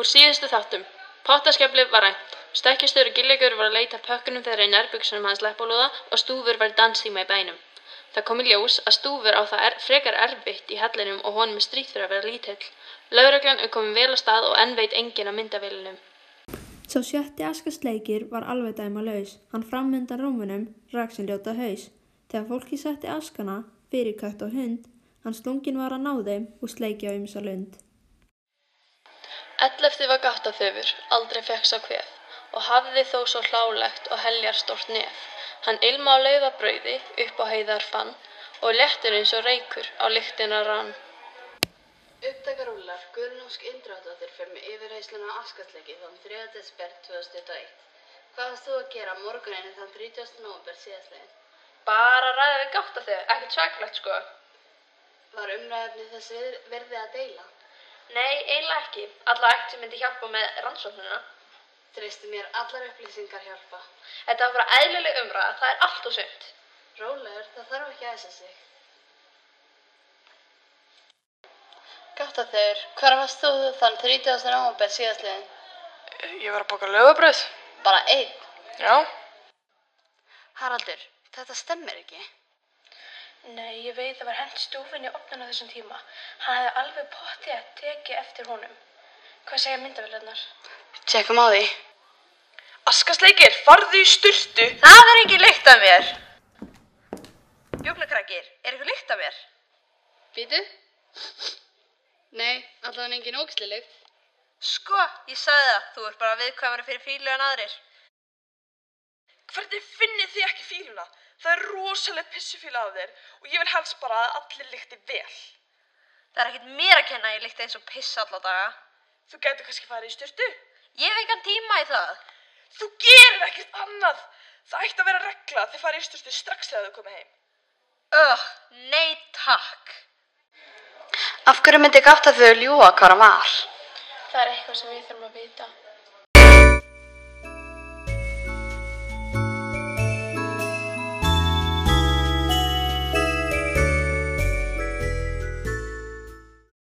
Úr síðustu þáttum. Pottaskaflið var æmt. Stekkjarstjóri Giljagur var að leita að pökkunum þeirra í nærbuxunum hans leppalúða og stúfur var í danstíma í bænum. Það kom í ljós að stúfur á það er, frekar erfitt í hellinum og honum er strítt fyrir að vera lítill. Lögreglan er komin vel á stað og enn veit enginn af myndavélinum. Sá sjötti askasleikir var alveg dæma laus. Hann framundan rúmunum rak sem ljóta haus. Þegar fólki setti askana, fyrir kött og hund, hans lungin var að ná þeim og sleikja um sa lund. Ellefti var gáttaþöfur, aldrei fekk sá kvef og hafði þó svo hlálegt og heljar stort nef. Hann ilma á laufabrauði upp á heiðar fann og lettur eins og reykur á lyktina rann. Upptakarúlar, Guðnúsk Indráttóttir fyrir með yfirheysluna á askatleiki þann 3. desber 2001. Hvað varst þú að gera morguninni þann 30. november síðastlegin? Bara að ræða við gátt að þau, ekkert svaklegt sko. Var umræðefni þess vir- virði að deila? Nei, eiginlega ekki. Alla ekkert sem myndi hjálpa með rannsóknuna. Treysti mér allar upplýsingar hjálpa. Þetta var bara eðlileg umræða, það er allt og sumt. Rólegur, það þarf ekki að æsa sig. Gáttaþauður, hvar varst þú þann 30. november síðastlegin? Ég var að bóka lögabröð. Bara einn. Já. Haraldur, þetta stemmir ekki. Nei, ég veit það var hent stúfin í opnun á þessum tíma. Hann hefði alveg pottið að teki eftir honum. Hvað segja myndavélarnar? Tjekkum á því. Askasleikir, farðu í styrtu. Það er ekki lykt af mér. Júklakrakkir, er ykkur lykt af mér? Býtu? Nei, allavega engin ógslileg. Sko, ég sagði það, þú ert bara viðkvæmari fyrir fílu en aðrir. Hvernig finnið þið ekki fíluna? Það er rosalega pissufíla af þér og ég vil helst bara að allir lykti vel. Það er ekkert mér að kenna að ég líkt eins og piss alla daga. Þú gæti kannski farið í styrtu. Ég hef engan tíma í það. Þú gerir ekkert annað. Það ætti að vera regla að þið farið í styrtu strax þegar þau komið heim. Öh, nei takk. Af hverju myndi gáttaþauður ljúa hvað hann var? Það er eitthvað sem við þurfum að vita.